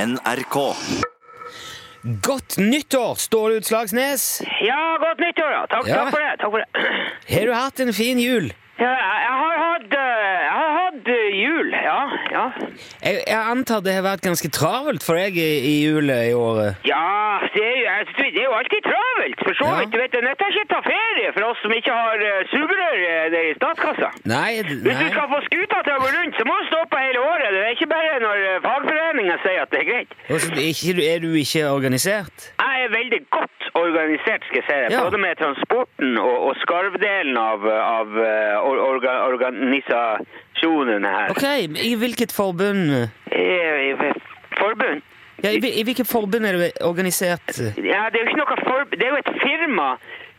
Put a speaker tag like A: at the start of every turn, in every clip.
A: NRK.
B: Godt nyttår, Ståle Utslagsnes!
C: Ja, godt nyttår, da. Takk,
B: Ja.
C: takk for det. Takk for det.
B: Har du hatt en fin jul?
C: Ja, jeg jeg har hatt, eh, jeg har hatt eh, jul, ja. Ja,
B: Jeg, jeg antar det har vært ganske travelt for deg i, i jula i år.
C: ja det, er, jo- jeg synes det er jo alltid travelt, for så
B: Ja.
C: vidt. Du vet, det nytter ikke å ta ferie for oss som ikke har eh, sugerør eh, der i statskassa.
B: Nei, d-
C: Hvis du
B: nei.
C: skal få skuta til å gå rundt, så må du stå på hele året. Det er ikke bare når eh, fagforeningen sier at det er greit.
B: Altså, er ikke, er du ikke organisert?
C: Jeg er veldig godt organisert, skal jeg si deg.
B: Ja.
C: Både med transporten og, og skarvdelen av, av eh, or, orga, organisasjonen her.
B: Ok, i hvilket forbund
C: Eh, eh, Forbund?
B: ja, i, hvil- I hvilket forbund er du organisert?
C: Ja, det er jo ikke noe forbund, det er jo et firma.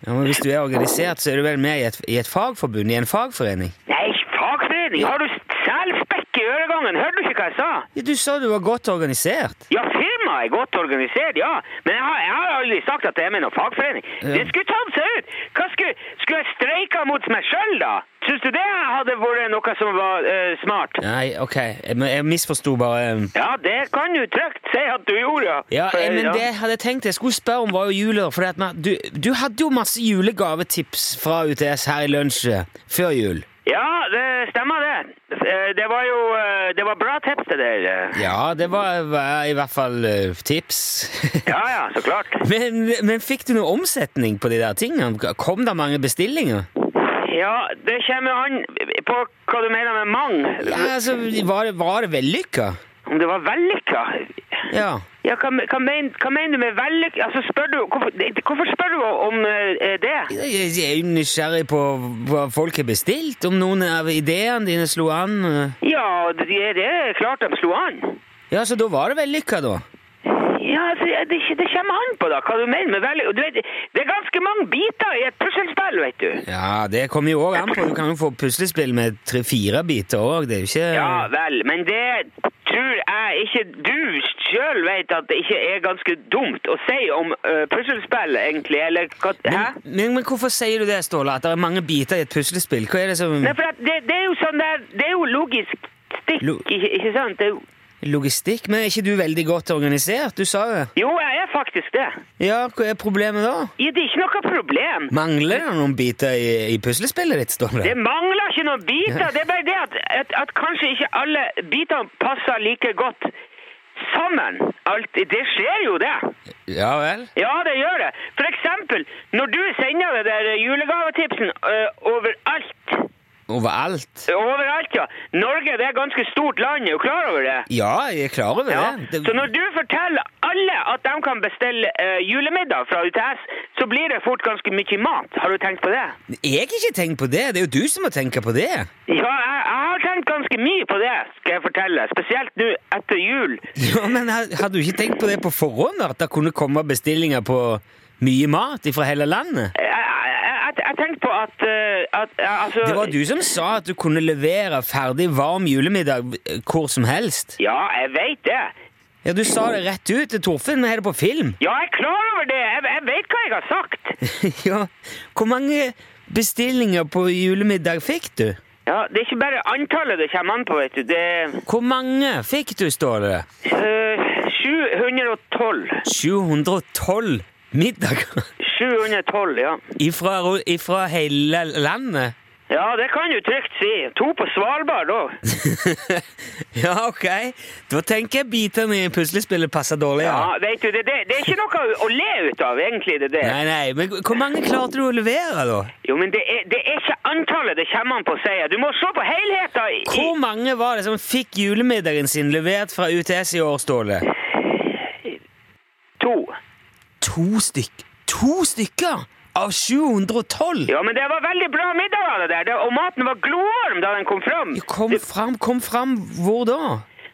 B: Ja, men hvis du er organisert, så er du vel med i et, i et fagforbund? I en fagforening?
C: Nei, fagforening! Har du selspekk i øregangen? Hørte du ikke hva jeg sa?
B: Ja, Du sa du var godt organisert.
C: Ja, firmaet er godt organisert, ja. Men jeg har, jeg har aldri sagt at det er med noen fagforening.
B: Ja.
C: Det skulle tatt seg ut! Hva skulle, skulle jeg streika mot meg sjøl, da? Syns du det hadde vært noe som var eh, smart?
B: Nei, ok, jeg, men jeg misforsto bare. um.
C: Ja, det kan du trygt si at du gjorde.
B: Ja,
C: For-
B: eh, men det jeg hadde tenkt jeg skulle spørre om, var jo juler. For du, du hadde jo masse julegavetips fra UTS her i lunsjet før jul.
C: ja, det stemmer, det. Eh, Det var jo eh, Det var bra tips, det der. eh.
B: Ja, det var, var i hvert fall eh, tips.
C: Ja, ja, så klart.
B: men, men fikk du noe omsetning på de der tingene? Kom det mange bestillinger?
C: Ja, det kommer jo an på hva du mener med mang.
B: Ja, altså, Var det, var det vellykka?
C: Om det var vellykka?
B: Ja.
C: Ja, hva, hva, men, hva mener du med vellykka? Altså, spør du, hvorfor, det- hvorfor spør du om eh, det?
B: Jeg jeg er jo nysgjerrig på hva folk har bestilt, om noen av ideene dine slo an. eh.
C: Ja, det, det er klart de slo an.
B: Ja, så da var det vellykka, da?
C: Ja, altså, det, det kommer an på da, hva du mener med vellykka. Du vet, det er ganske mange biter i et puslespill, vet du.
B: Ja, det kommer jo òg an på. Du kan jo få puslespill med tre-fire biter òg. Det er jo ikke
C: Ja vel, men det tror jeg ikke du sjøl vet at det ikke er ganske dumt å si om uh, puslespill, egentlig, eller hva Hæ?
B: men, men, men hvorfor sier du det, Ståle? At det er mange biter i et puslespill? Hva er det som
C: Nei, for at det, det er jo sånn der Det er jo logisk stikk,
B: Lo-
C: ikke, ikke sant? Det er jo,
B: Logistikk? Men er ikke du veldig godt organisert? Du sa jo det.
C: jo, jeg er faktisk det.
B: Ja, hva er problemet da?
C: Ja, Det er ikke noe problem.
B: Mangler det noen biter i, i puslespillet ditt,
C: Det
B: Ståle?
C: mangler ikke noen biter.
B: Ja.
C: Det er bare det at, at, at kanskje ikke alle bitene passer like godt sammen. Alt, det skjer jo, det.
B: Ja vel?
C: Ja, det gjør det. For eksempel, når du sender det der julegavetipsen øh, overalt
B: Overalt?
C: Overalt, ja. Norge det er et ganske stort land, er du klar over det?
B: Ja, jeg Sånn er klar over
C: Ja.
B: det.
C: Så
B: det.
C: når du forteller alle at de kan bestille eh, julemiddag fra UTS, så blir det fort ganske mye mat. Har du tenkt på det?
B: Jeg har ikke tenkt på det. Det er jo du som må tenke på det.
C: Ja, jeg, jeg har tenkt ganske mye på det, skal jeg fortelle. Spesielt nå etter jul.
B: Ja, Men ha- hadde du ikke tenkt på det på forhånd? At det kunne komme bestillinger på mye mat fra hele landet?
C: Jeg, jeg, jeg, jeg tenkte på at, eh, at eh, altså,
B: Det var du som sa at du kunne levere ferdig varm julemiddag eh, hvor som helst.
C: Ja, jeg vet det.
B: Ja, Du sa det rett ut til Torfinn. Vi har det på film.
C: Ja, jeg er klar over det. Jeg, jeg vet hva jeg har sagt.
B: ja, Hvor mange bestillinger på julemiddag fikk du?
C: Ja, Det er ikke bare antallet det kommer an på, vet du. Det er
B: Hvor mange fikk du, står det?
C: eh, 712.
B: 712 middager
C: 712, ja.
B: ifra, ro- ifra hele landet?
C: Ja, det kan du trygt si. To på Svalbard òg.
B: ja, ok. Da tenker jeg bitene i puslespillet passer dårlig.
C: Ja,
B: Ja.
C: vet du, det, det, det er ikke noe å le ut av, egentlig. det der.
B: Nei, nei, men Hvor mange klarte du å levere, da?
C: Jo, men det er, det er ikke antallet det kommer an på, sier jeg. Du må se på helheten. i-
B: Hvor mange var det som fikk julemiddagen sin levert fra UTS i år, Ståle?
C: i to.
B: To stykk. To stykker av 712!
C: Ja, men det var veldig bra middag av det der, det, og maten var glovarm da den kom fram.
B: Ja, Kom fram, kom fram. Hvor da?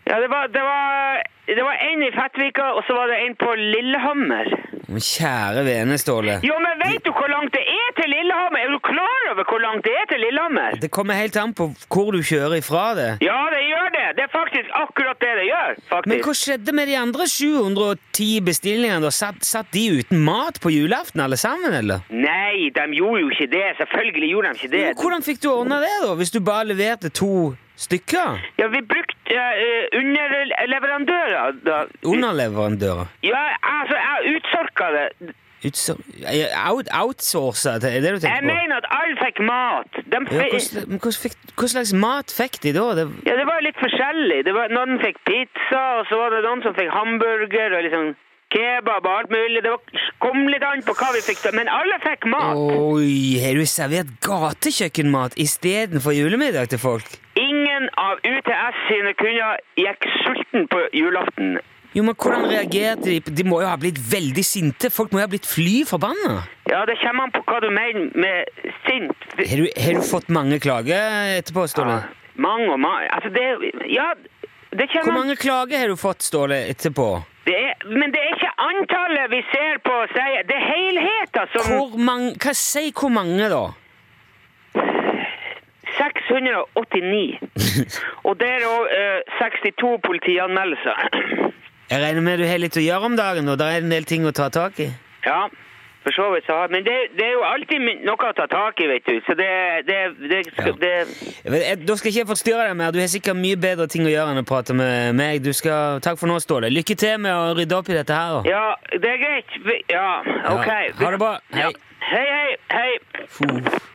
C: Ja, det var, det var, det var en i Fettvika, og så var det en på Lillehammer.
B: Å, Kjære vene, Ståle.
C: Jo, men vet du hvor langt det er til Lillehammer? Er du klar over hvor langt det er til Lillehammer?
B: Det kommer helt an på hvor du kjører ifra det.
C: Ja, det gjør det. Det er faktisk akkurat det det gjør,
B: Men
C: faktisk.
B: hva skjedde med de andre 710 bestillingene? da? Satt, satt de uten mat på julaften, alle sammen, eller?
C: Nei, de gjorde jo ikke det. Selvfølgelig gjorde de ikke det.
B: Hvordan fikk du ordna det, da, hvis du bare leverte to stykker?
C: Ja, vi brukte eh, underleverandører da.
B: Underleverandører?
C: Ja, altså, jeg utsorka det.
B: Utsor- eh, Out, outsourcer? Er det det du
C: Jeg
B: tenker på?
C: mener at alle fikk mat.
B: Ja,
C: De, fi-
B: hva, slags, men hva, fikk, hva slags mat fikk de da? Det,
C: ja, det var litt forskjellig. Det var, noen fikk pizza, og så var det noen som fikk hamburger og liksom kebab og alt mulig. Det var, kom litt an på hva vi fikk, men alle fikk mat.
B: oi, har du servert gatekjøkkenmat istedenfor julemiddag til folk?
C: Ingen av UTS sine kunder gikk sulten på julaften.
B: Jo, men Hvordan reagerte de? De må jo ha blitt veldig sinte. Folk må jo ha blitt fly forbanna.
C: Ja, det kommer an på hva du mener med sint.
B: Har du, har du fått mange klager etterpå, Ståle?
C: Mange og mange. Altså, det Ja, det
B: Hvor
C: kommer an
B: mange klager har du fått, Ståle, etterpå?
C: det er, Men det er ikke antallet vi ser på, sier Det er helheten som
B: Hvor mange, hva Si hvor mange, da?
C: 689. Og det er òg 62 politianmeldelser.
B: Jeg regner med du har litt å gjøre om dagen, og det er en del ting å ta tak i?
C: Ja, for så vidt. så har- Men det, det er jo alltid noe å ta tak i, vet du. Så det, det, det,
B: Ja.
C: det, det
B: Jeg vet- jeg- Da skal ikke jeg forstyrre deg mer. Du har sikkert mye bedre ting å gjøre enn å prate med meg. Du skal, takk for nå, Ståle. Lykke til med å rydde opp i dette her. da.
C: Ja, det er greit. Vi- Ja, ok.
B: Ja, ha det bra. Hei.
C: Ja. Hei, hei, hei.
B: Puh.